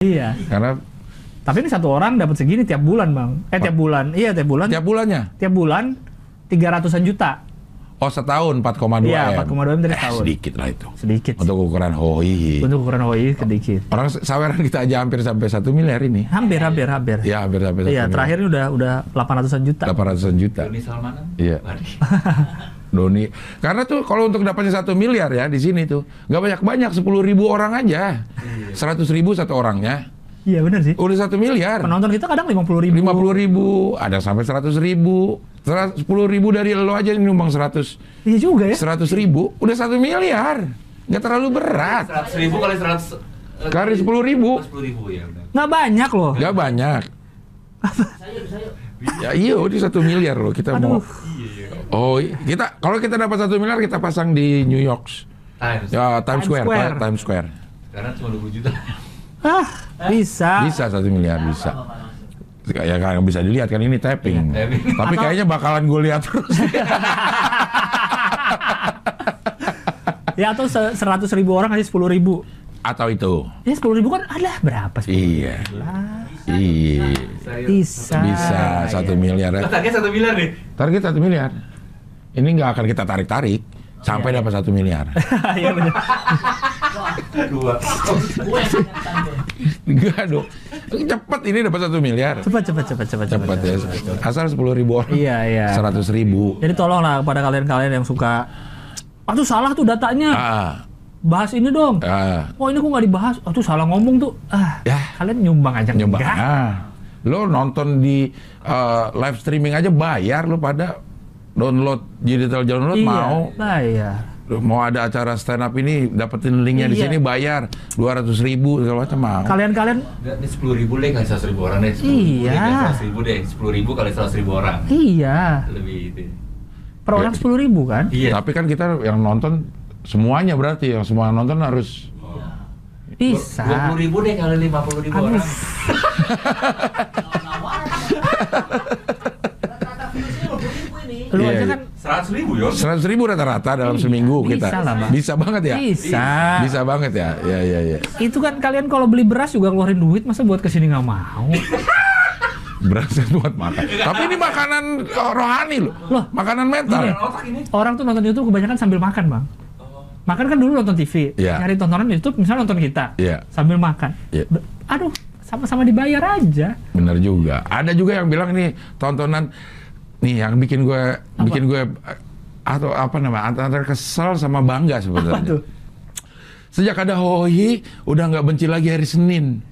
Iya. Karena Tapi ini satu orang dapat segini tiap bulan, Bang. Eh tiap bulan. Iya, tiap bulan. tiap bulannya. Tiap bulan 300-an juta. Oh setahun 4,2 Iya, M. 4,2 M dari Eh, setahun. sedikit lah itu. Sedikit. sih. Untuk ukuran Hoi. Untuk ukuran OI sedikit. Orang saweran kita aja hampir sampai 1 miliar ini. Hampir, hampir, hampir. Ya hampir sampai 1 Iya, miliar. terakhir ini udah udah 800-an juta. 800 juta. Doni Salmanan. Iya. Bari. Doni. Karena tuh kalau untuk dapatnya satu miliar ya di sini tuh nggak banyak banyak 10 ribu orang aja, 100 ribu satu orangnya Iya, benar sih. udah satu miliar. Penonton kita kadang 50 ribu. 50 ribu, ada sampai 100 ribu, 10 ribu dari lo aja nyumbang 100 Iya juga ya. 100 ribu, udah satu miliar, nggak terlalu berat. 100 ribu kali 100 eh, Kali 10 ribu. 10 ribu ya udah. Nggak banyak loh. Gak banyak. ya iya, udah satu miliar loh kita mau. Aduh. Iya. Oh, i- kita kalau kita dapat satu miliar kita pasang di New York, Times. ya Times Times Square, Square. Ta- Times Square. Sekarang cuma 20 juta. Ah, bisa. Bisa satu miliar bisa. Ya kan bisa dilihat kan ini tapping. Iya, tapping. Tapi Atau- kayaknya bakalan gue lihat terus. Ya atau se- 100 ribu orang kasih 10 ribu. Atau itu. Ya 10 ribu kan adalah berapa sih? Iya. Iya. Saya- Bisa. Bisa iya. satu miliar. Lo target 1 miliar nih. Target satu miliar. Ini nggak akan kita tarik-tarik sampai dapat satu miliar. Iya benar. Dua. Enggak dong. Cepat ini dapat satu miliar. Cepat cepat cepat cepat Cepat ya. Asal sepuluh ribu orang. Iya iya. Seratus ribu. Jadi tolonglah kepada kalian-kalian yang suka Aduh salah tuh datanya. Ah, Bahas ini dong. ah, Oh ini kok nggak dibahas? Aduh salah ngomong tuh. Ah, Ya. kalian nyumbang aja nyoba. enggak? Ah. Lo nonton di eh, live streaming aja bayar lo pada download digital download Iya, mau bayar. mau ada acara stand up ini dapetin linknya di Iya. sini bayar dua ratus ribu segala macam mau. Kalian-kalian Nggak, Ini 10 ribu deh kali 100 ribu orang deh. 10 Iya. ribu deh, 10 ribu kali 100 ribu orang. iya, Lebih itu. per orang 10 ribu kan? Iya. Tapi kan kita yang nonton semuanya berarti yang semua nonton harus Bisa. 20 ribu deh kali 50 ribu Aduh. orang. Lu Iya, aja iya. kan 100 ribu ya. seratus ribu rata-rata dalam seminggu bisa kita lah, Bang. bisa banget ya bisa. bisa banget ya ya ya ya Itu kan kalian kalau beli beras juga keluarin duit, masa buat kesini nggak mau? berasa buat makan tapi ini makanan eh, rohani loh Loh. Iya. makanan mental Gini. Otak ini. Orang tuh nonton YouTube kebanyakan sambil makan, Bang. Makan kan dulu nonton TV, Oh. Iya. nyari tontonan YouTube, misalnya nonton kita, Iya. sambil makan. Iya. Be- Aduh, sama-sama dibayar aja. bener juga ada juga yang bilang nih tontonan nih yang bikin gue bikin gue eh, atau apa namanya antara antara kesel sama bangga Apa sebenarnya tuh? sejak ada Hohi udah nggak benci lagi hari Senin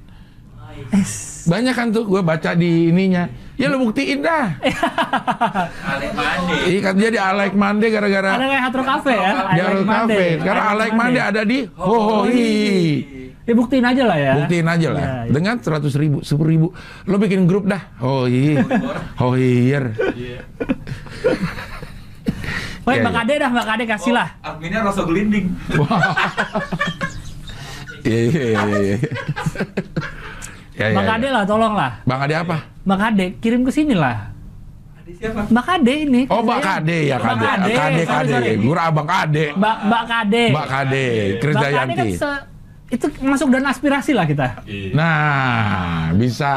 Es. banyak kan tuh gue baca di ininya ya lo buktiin dah Eh. Kali mandi. Ih, kan jadi Alek Mande gara-gara Ada kayak Hatro Cafe ya? I di like Arul Monday. Cafe. Karena I I like Like Monday ada di Oh, Hohoi. Ya buktiin aja lah ya. Buktiin aja lah. Iya, iya. Dengan 100 ribu, 10 ribu. Lo bikin grup dah. iya. Hoi. Hoir. Woi, Iya, Mbak iya. Ade dah, Mbak Ade kasih lah. Oh, Adminnya rasa gelinding. Iya, iya, iya, iya. Ya, ya, Mbak ya. Ade lah, tolong lah. Bang Ade apa? Mbak Ade, kirim ke sini lah. Ada siapa? Mbak Ade ini. Oh, Mbak saya- Kade ya, Mbak Kade. Kade, Kade, sorry, Kade. sorry. Gue abang Kade. Mbak Mbak Kade. Mbak Kade, Chris Mbak Kade kan Dayanti. se- itu masuk dan aspirasi lah kita. Iya. Nah, bisa.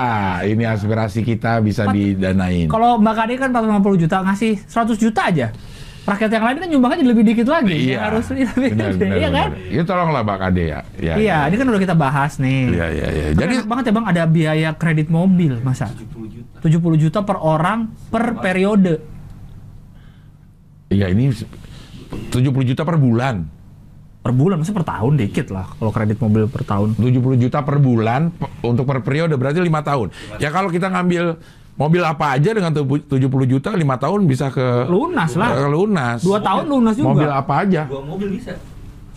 Ini aspirasi kita bisa didanain. Kalau Mbak Kade kan 450 juta ngasih 100 juta aja. Rakyat yang lain kan nyumbang aja lebih dikit lagi. Yang Iya, harus lebih benar, gede, benar, iya kan? benar. Ya tolonglah Mbak Kade ya. Iya, Ya, ya. ini kan udah kita bahas nih. Iya, iya, iya. Kan Jadi enak banget ya Bang ada biaya kredit mobil masa 70 juta. 70 juta per orang per periode. Iya ini 70 juta per bulan. Per bulan masa per tahun dikit lah kalau kredit mobil per tahun. 70 juta per bulan pe- untuk per periode berarti lima tahun. Ya kalau kita ngambil mobil apa aja dengan tubu- 70 juta lima tahun bisa ke Lunas ke lah. lunas. Dua tahun lunas juga. Mobil apa aja? Dua mobil bisa.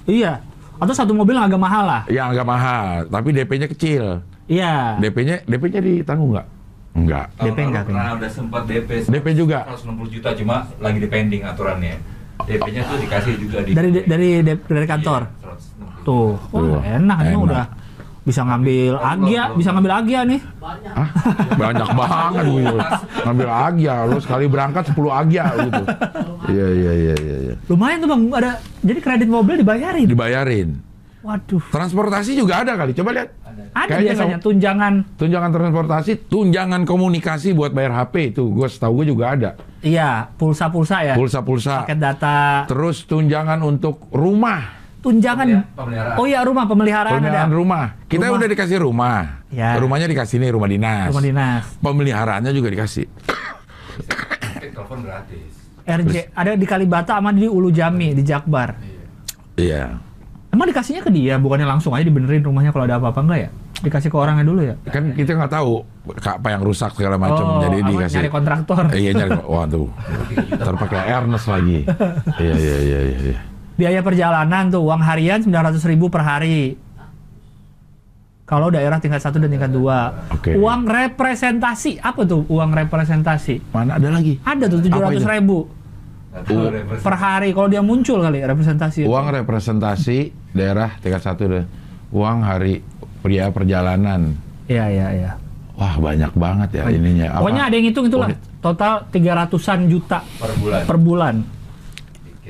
Iya. Atau satu mobil yang agak mahal lah. Yang agak Ya, mahal, tapi DP-nya kecil. Iya. DP-nya DP-nya ditanggung nggak? Nggak. Tahun DP nggak, lalu pernah udah sempat DP. DP juga. 160 juta cuma lagi dipending aturannya. DP-nya tuh dikasih juga di Dari dari dari kantor. Iya, 160. Tuh, Tuh, wah, enak, ini enak. udah bisa ngambil agia, bisa ngambil agia nih. Hah? Banyak banget gitu. Ngambil agia, lu sekali berangkat 10 agia gitu. Iya iya iya iya iya. Lumayan tuh Bang, ada jadi kredit mobil dibayarin. Dibayarin. Waduh. Transportasi juga ada kali. Coba lihat. ada. Ada Kayaknya biasanya kamu- tunjangan. Tunjangan transportasi, tunjangan komunikasi buat bayar HP itu, gue setahu gue juga ada. Iya, pulsa-pulsa ya. Pulsa-pulsa. Paket data. Terus tunjangan untuk rumah, Tunjangan. Pemeliharaan. Oh iya, rumah pemeliharaan tunjangan ada. rumah. Kita Rumah. udah dikasih rumah, Ya. rumahnya dikasih nih rumah dinas, Rumah dinas. pemeliharaannya juga dikasih. Tapi telepon gratis. RJ ada di Kalibata sama di Ulu Jami di Jakbar. Iya. Iya. Emang dikasihnya ke dia, bukannya langsung aja dibenerin rumahnya kalau ada apa-apa enggak ya? Dikasih ke orangnya dulu ya? Kan kita nggak tahu ka- apa yang rusak segala macam, Oh, jadi apa, dikasih. nyari kontraktor. Iya nyari. Waduh, terpakai Ernest lagi. Iya iya iya iya. iya. Biaya perjalanan tuh uang harian 900.000 per hari. Kalau daerah tingkat 1 dan tingkat 2. Oke. Uang representasi, apa tuh uang representasi? Mana ada lagi? Ada tuh 700.000 Nggak tahu Oh, representasi. per hari kalau dia muncul kali representasi. itu. Uang representasi daerah tingkat satu deh. Uang hari pria perjalanan. Iya, iya, iya. Wah banyak banget ya ininya. Apa? Pokoknya ada yang hitung itulah. Unit. Total 300-an juta per bulan. per bulan.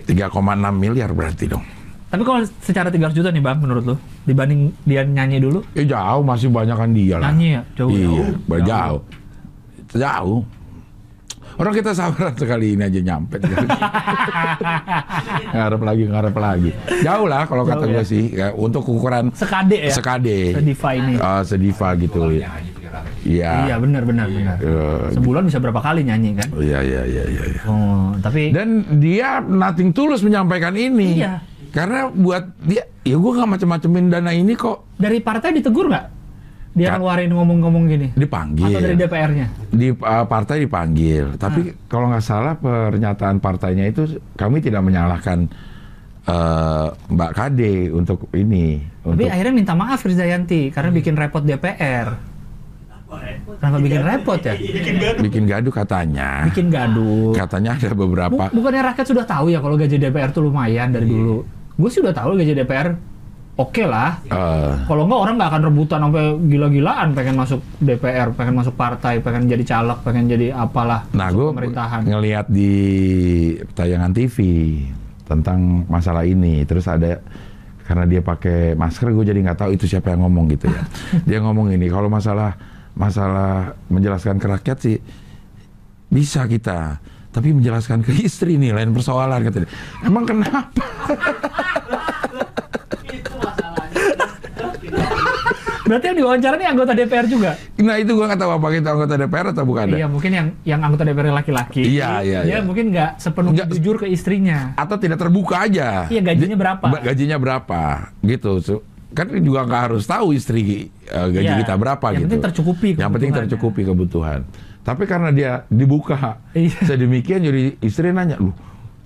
3,6 miliar berarti dong. Tapi kalau secara 300 juta nih Bang menurut lu dibanding dia nyanyi dulu? Eh jauh masih banyak kan dia lah. Nyanyi ya? Jauh, Iya, jauh. ba- jauh. jauh. Orang kita sabaran sekali ini aja nyampe. ngarep lagi, ngarep lagi. Jauh lah kalau kata Jauh gue ya. sih. Ya, untuk ukuran Sekade ya? sekade. Sediva ini. Ah, sediva gitu. Pulangnya Iya. aja tiga ratus. Iya, benar benar benar. Eh, Sebulan bisa berapa kali nyanyi kan? Iya, iya, iya, iya. iya. Oh, tapi Dan dia nothing tulus menyampaikan ini. Iya. Karena buat dia, ya gue gak macem-macemin dana ini kok dari partai ditegur nggak? Nggak. Iya. Dia ngeluarin ngomong-ngomong gini. dipanggil. Atau Ah. dari DPR-nya? di uh, partai dipanggil. Tapi kalau nggak salah pernyataan partainya itu kami tidak menyalahkan uh, Mbak Kade untuk ini. Tapi Untuk akhirnya minta maaf Rizdayanti karena bikin repot DPR. Kenapa bikin repot ya? bikin gaduh katanya. Bikin gaduh. Katanya ada beberapa. Bu- bukannya rakyat sudah tahu ya kalau gaji DPR tuh lumayan dari Iya. dulu. Gue sih udah tahu gaji DPR oke lah. eh, Kalau nggak orang nggak akan rebutan sampai gila-gilaan pengen masuk DPR, pengen masuk partai, pengen jadi caleg, pengen jadi apalah nah, masuk gue pemerintahan. ngelihat di tayangan TV tentang masalah ini. Terus ada karena dia pakai masker, gue jadi nggak tahu itu siapa yang ngomong gitu ya. dia ngomong ini kalau masalah masalah menjelaskan ke rakyat sih bisa kita tapi menjelaskan ke istri nih lain persoalan katanya emang kenapa Berarti yang diwawancara ini anggota DPR juga? nah itu gua nggak tahu apa itu anggota DPR atau bukan Iya, mungkin yang yang anggota DPR laki-laki. Iya, iya, Dia iya. mungkin nggak sepenuhnya Nggak- jujur ke istrinya. atau tidak terbuka aja Iya, gajinya Di- berapa? ba- gajinya berapa gitu Su- kan juga nggak harus tahu istri eh, gaji Iya, kita berapa yang gitu penting tercukupi yang penting kebutuhannya. tercukupi kebutuhan tapi karena dia dibuka Iya. sedemikian jadi istri nanya lu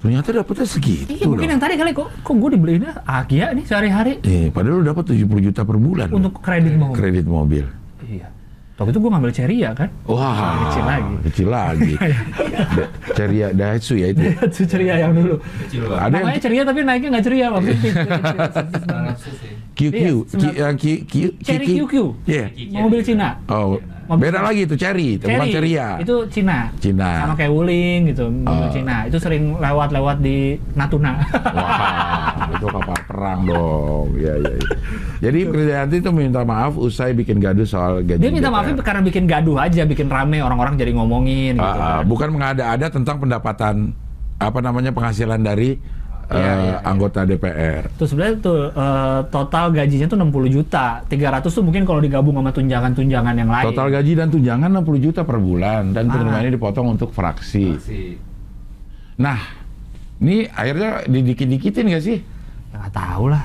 ternyata dapetnya segitu Iya, mungkin loh." yang tadi kali kok kok gue dibeliinnya Agia nih sehari-hari Eh, padahal lu dapat 70 juta per bulan loh, untuk kredit mau. kredit mobil Iya. Waktu itu gue ngambil Ceria kan? Wah, Kecil lagi. Iya. Kecil lagi. Da- Ceria Daihatsu ya itu. Itu ceria yang dulu. Kecil Ada banget. yang Namanya ceria tapi naiknya nggak ceria maksudnya. Sembilan ratus sih. QQ, Q, Iya, eh, Q, Q, Cherry QQ. Iya. Mobil Cina. Oh, Mobil- beda lagi itu Cherry, itu bukan Ceria. Itu Cina. Cina. Sama kayak Wuling gitu, mobil Oh. Cina. Itu sering lewat-lewat di Natuna. Wah, itu kapal perang dong. Iya, iya, iya. Jadi Krisdayanti itu minta maaf usai bikin gaduh soal gaji. Dia minta DPR. maafnya karena bikin gaduh aja, bikin rame orang-orang jadi ngomongin ya. Ah, gitu. ah, kan. bukan mengada-ada tentang pendapatan apa namanya penghasilan dari eh, Iya, iya, iya. anggota DPR. Tuh sebenarnya tuh eh, total gajinya tuh 60 juta. 300 tuh mungkin kalau digabung sama tunjangan-tunjangan yang lain. Total gaji dan tunjangan 60 juta per bulan dan Ah. penerimaannya dipotong untuk fraksi. Si Nah, ini akhirnya didikit-dikitin gak sih? Ya nggak tahu lah.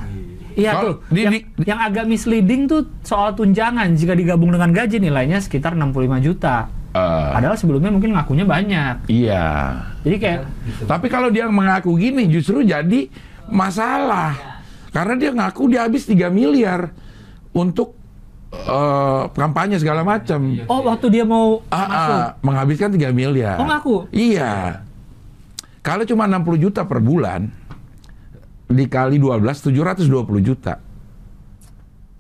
Iya tuh. Kalau di- yang, di- yang agak misleading tuh soal tunjangan jika digabung dengan gaji nilainya sekitar 65 juta. Eh, Padahal sebelumnya mungkin ngakunya banyak. iya. Jadi kayak Kan Tapi kalau dia mengaku gini justru jadi masalah. Iya. Karena dia ngaku dia habis 3 miliar untuk eh, kampanye segala macam. oh waktu dia mau Ah, masuk ah, menghabiskan 3 miliar. Oh, ngaku? Iya. Kalau cuma 60 juta per bulan dikali 12 720 juta.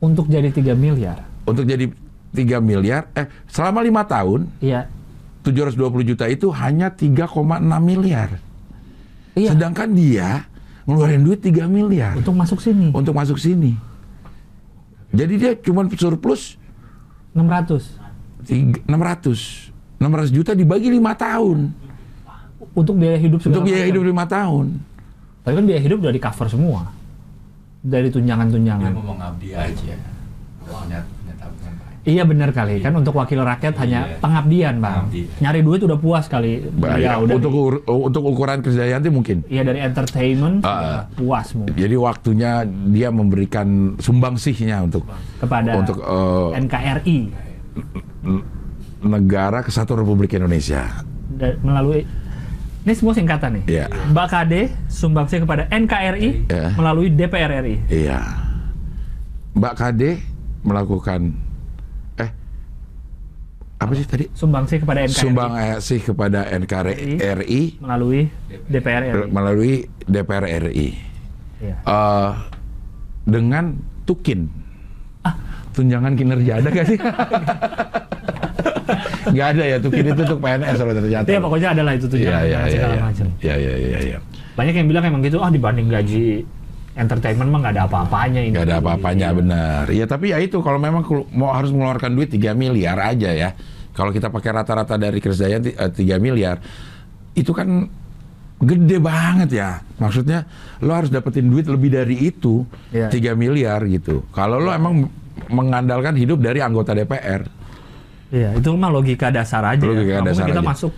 untuk jadi 3 miliar. untuk jadi 3 miliar eh selama lima tahun Iya. 720 juta itu hanya 3,6 miliar. Iya. Sedangkan dia ngeluarin duit 3 miliar Untuk masuk sini. untuk masuk sini. tapi Jadi dia cuma surplus 600 tiga- 600 600 juta dibagi lima tahun untuk biaya hidup segala untuk biaya macam. hidup lima tahun. Tapi kan biaya hidup udah di cover semua dari Dia tunjangan-tunjangan. mau mengabdi aja. Udah punya punya tabungan banyak. Iya benar kali kan untuk wakil rakyat Iya. hanya pengabdian bang. Pengabdian. Nyari duit udah puas kali. Bahaya. Ya, udah untuk ur- untuk ukuran Krisdayanti mungkin. Iya dari entertainment Ah. sudah puas mungkin Jadi waktunya dia memberikan sumbangsihnya untuk kepada untuk eh, NKRI negara kesatuan Republik Indonesia. da- melalui ini semua singkatan nih. Iya. Mbak Kade sumbangsi kepada NKRI Iya. melalui DPR RI. Iya. Mbak Kade melakukan eh apa sih tadi? Sumbangsi kepada NKRI Sumbang eh, sih kepada NKRI RI, melalui DPR RI. melalui DPR RI Iya. Eh, dengan tukin Ah, tunjangan kinerja ada gak sih? Gak ada ya tukin itu untuk PNS kalau ternyata. Iya, pokoknya adalah itu Iya tunjangan iya iya. segala iya. macam. Iya iya iya iya. Banyak yang bilang emang gitu, ah dibanding gaji entertainment mah nggak ada apa-apanya ini. Gak ada apa-apanya Hmm. benar. Ya tapi ya itu kalau memang kelu- mau harus mengeluarkan duit 3 miliar aja ya. Kalau kita pakai rata-rata dari Krisdayanti eh, 3 miliar itu kan gede banget ya. Maksudnya lo harus dapetin duit lebih dari itu Iya. 3 miliar gitu. Kalau lo emang mengandalkan hidup dari anggota DPR. Iya, itu mah logika dasar aja. ya. Logika Nggak mungkin dasar kita aja. masuk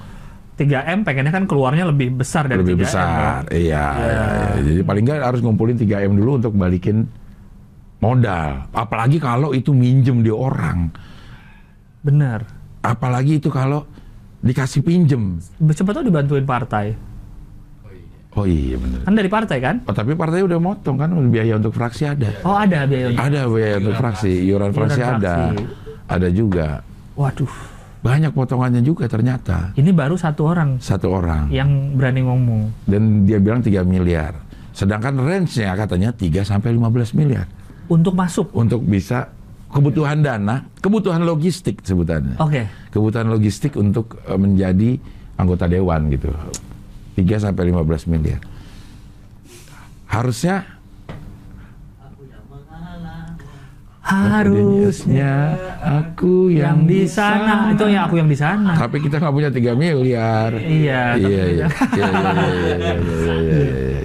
3M pengennya kan keluarnya lebih besar dari lebih 3M. besar. kan? Iya, iya, iya. Jadi paling nggak harus ngumpulin 3M dulu untuk balikin modal. Apalagi kalau itu minjem di orang. Bener. Apalagi itu kalau dikasih pinjem. Siapa tuh dibantuin partai. Oh iya. Oh iya bener. Kan dari partai kan? Oh, tapi partai udah motong kan biaya untuk fraksi ada. Oh ada biaya untuk- Ada biaya untuk Iuran fraksi, iya. iuran fraksi Iuran ada. fraksi. Ada juga. Waduh, Banyak potongannya juga ternyata. ini baru satu orang Satu orang. yang berani ngomong. Dan dia bilang 3 miliar. Sedangkan range-nya katanya 3 sampai 15 miliar. Untuk masuk. untuk bisa kebutuhan dana, kebutuhan logistik sebutannya. Oke. Kebutuhan logistik untuk eh, menjadi anggota dewan gitu. 3 sampai 15 miliar. Harusnya Harusnya harusnya aku yang di sana. Itu yang aku yang di sana. Tapi kita nggak punya 3 miliar. Iya, tapi Iya, iya. punya. Iya, iya, iya, iya, iya, iya, iya, iya, iya.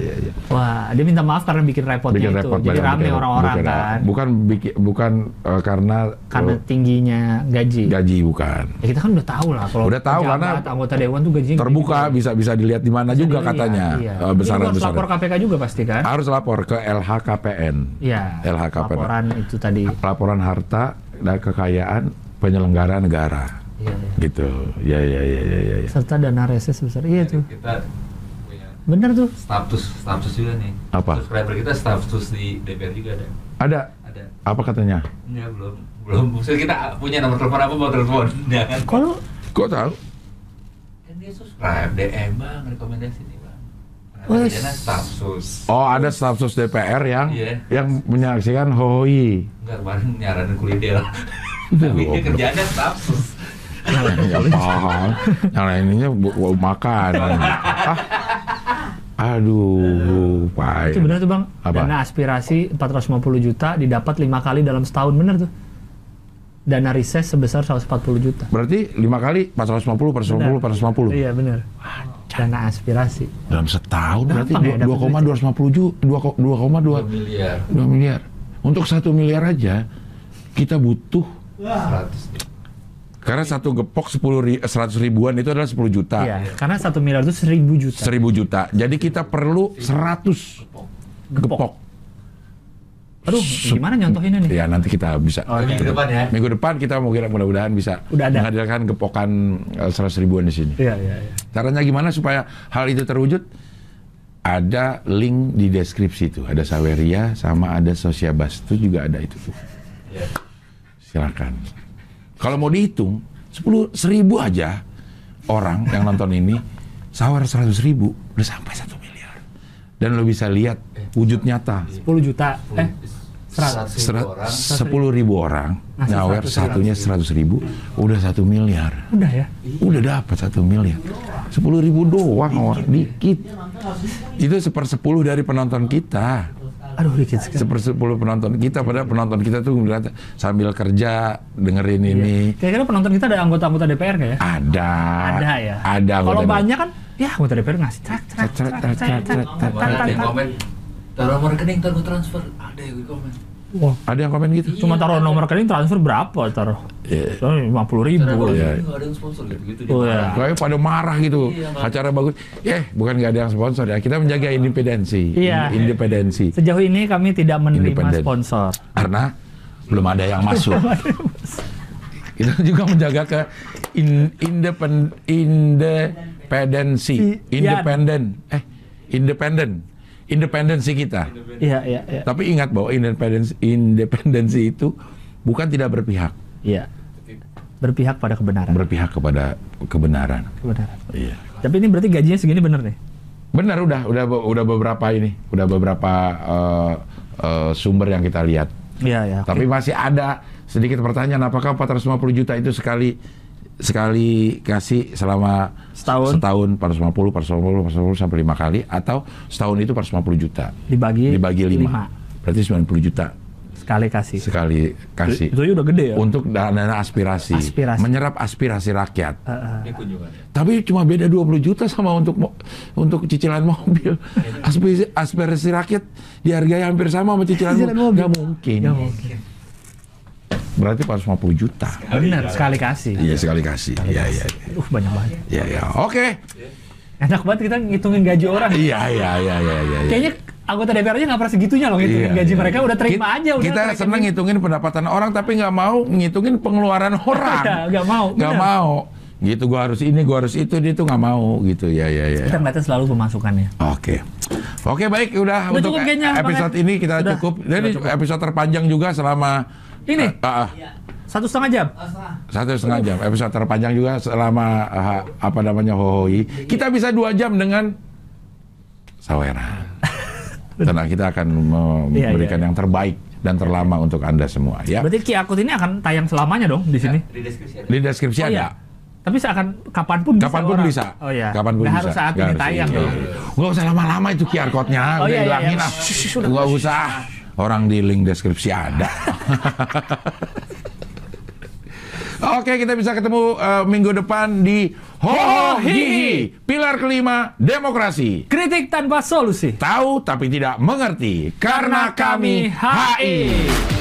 Wah, dia minta maaf karena bikin repotnya Bikin itu. repot Jadi badan, rame bikin- orang-orang bikin- kan. Bukan bikin- bukan eh, karena Karena eh, tingginya gaji. gaji bukan. Ya kita kan udah tahu lah kalau Udah tahu, pejabat, karena anggota dewan tuh gajinya terbuka bisa bisa dilihat di mana Iya, juga katanya Eh, besar besaran harus lapor besaran KPK juga pasti kan? harus lapor ke LHKPN Iya. LHKPN. Laporan itu tadi. laporan harta dan kekayaan penyelenggara negara Iya, iya. gitu ya ya ya ya ya, ya. Serta dana reses sebesar iya tuh. Kita punya Bener tuh. status status juga nih. Apa? Subscriber kita status di DPR juga ada. ada Ada. apa katanya Enggak Ya, belum belum. Maksudnya kita punya nomor telepon apa mau telepon? ya kan? Jangan. Kalau kok tahu Kan dia subscribe DM bang rekomendasi nih bang. Nah, Wes. kerjanya status. oh ada stafsus DPR yang Iya. yang menyaksikan hoi Enggak kemarin nyaranin kulidel. Tapi dia goblok. kerjanya status. nggak paham Ya yang lainnya bu- bu- makan ah. aduh pahit itu bener tuh Bang. Apa? Dana aspirasi 450 juta didapat lima kali dalam setahun bener tuh. Dana reses sebesar 140 juta. berarti lima kali 450 450 450 Iya bener. Dana aspirasi. dalam setahun berarti Gampang ya, dapat 2,250 juta 2 2,2 miliar. 2 miliar untuk satu miliar aja kita butuh 100 karena satu gepok 10 ri- 100 ribuan itu adalah 10 juta Iya, karena satu miliar itu 1000 juta. 1000 juta jadi kita perlu 100 gepok Aduh, gimana nyontohinnya nih? ya nanti kita bisa Oh, iya. Minggu depan ya. minggu depan kita mungkin mudah-mudahan bisa Udah ada. menghadirkan gepokan eh, 100 ribuan di sini Iya, iya, iya. caranya gimana supaya hal itu terwujud ada link di deskripsi tuh ada Saweria sama ada Sosiabas itu juga ada itu tuh Iya. silakan. Kalau mau dihitung, 10 seribu aja orang yang nonton ini, sawar 100 ribu udah sampai 1 miliar. Dan lo bisa lihat wujud nyata. 10 juta. Eh, seratus Sera- ribu orang 10 ribu orang Ngasih nyawer 100 satunya 100 ribu udah 1 miliar. udah ya. Udah dapat 1 miliar. 10 ribu doang orang dikit. Itu seper 10 dari penonton kita. aduh dikit sekali. sepersepuluh penonton kita padahal penonton kita tuh ngeliat sambil kerja dengerin ini Kira-kira penonton kita ada anggota-anggota DPR nggak ya? ada Ada ya. ada Kalau anggota DPR. banyak kan, ya anggota DPR ngasih trak trak Trak, trak trak, trak trak trak trak, trak, trak, Ada trak, yang trak. komen, taruh nomor rekening, ntar gue transfer. Ada yang komen. Wah, ada yang komen gitu cuma taruh nomor rekening transfer berapa taruh? Iya. Lima puluh Cara ribu. Iya. nggak ada yang sponsor gitu-gitu. dia Oh, iya. marah. Pokoknya pada marah gitu. Iya, marah. Acara bagus. Eh, bukan nggak ada yang sponsor ya. Kita menjaga independensi. Iya. In- Independensi. Sejauh ini kami tidak menerima Independen. sponsor. Karena belum ada yang masuk. Kita juga menjaga ke in, independ, independensi. Iya. Independen. Eh, independen. Independensi kita. Iya iya iya. Tapi ingat bahwa independensi, independensi itu bukan tidak berpihak. Iya. Berpihak pada kebenaran. Berpihak kepada kebenaran. Kebenaran. Iya. Tapi ini berarti gajinya segini bener nih? Benar udah udah be- udah beberapa ini, udah beberapa eh, eh, sumber yang kita lihat. Iya iya. Tapi masih ada sedikit pertanyaan apakah 450 juta itu sekali sekali kasih selama Setahun. setahun 450 450 450 sampai 5 kali atau setahun itu 450 juta Dibagi dibagi 5. lima. Berarti 90 juta Sekali kasih. sekali kasih Itu aja udah gede ya. untuk dana aspirasi, Aspirasi. menyerap aspirasi rakyat. Heeh. Ini kunjungannya. Tapi cuma beda 20 juta sama untuk mo- untuk cicilan mobil. Aspirasi, aspirasi rakyat dihargai hampir sama sama cicilan, Cicilan mobil. mobil. Nggak mungkin. Ya mungkin. Berarti 450 juta. Bener sekali kasih. Iya sekali kasih. Iya iya. Uh banyak banget. Iya iya. Oke. Enak banget kita ngitungin gaji orang. Iya iya iya iya iya. iya. Kayaknya anggota DPR aja nggak pernah segitunya loh ngitungin Iya, gaji iya. mereka udah terima gitu. Kit- aja udah. Kita rekening. seneng ngitungin pendapatan orang tapi nggak mau ngitungin pengeluaran orang. Iya, nggak mau, Nggak benar. mau. Gitu gua harus ini, gua harus itu, dia tuh nggak mau gitu. Ya ya ya. Kita ngeliatnya selalu pemasukannya. Oke. Oke baik udah, Udah untuk cukup kayaknya, Bang, episode ya? ini kita Udah, cukup. Jadi episode terpanjang juga selama Ini? Eh, ah, ah, Satu setengah jam. satu setengah jam. Episode terpanjang juga selama ah, apa namanya hohoi. Kita bisa dua jam dengan Sawera. Tenang kita akan Iya, iya, memberikan iya. yang terbaik dan terlama untuk anda semua ya. Berarti Ki Akut ini akan tayang selamanya dong di sini. Di deskripsi ada. Di deskripsi Oh ada. iya. Tapi seakan kapanpun bisa. Kapanpun orang. bisa. Oh iya. Kapanpun Nggak bisa. harus saat Nggak ini harus. tayang Iya, dong. iya. Nggak usah lama-lama itu QR code-nya. Oh, Udah iya, iya, hilangin iya. ah. Nggak usah. Orang di link deskripsi ada. Oke, kita bisa ketemu eh, minggu depan di Hohihi, pilar kelima demokrasi. Kritik tanpa solusi. Tahu tapi tidak mengerti karena kami HI.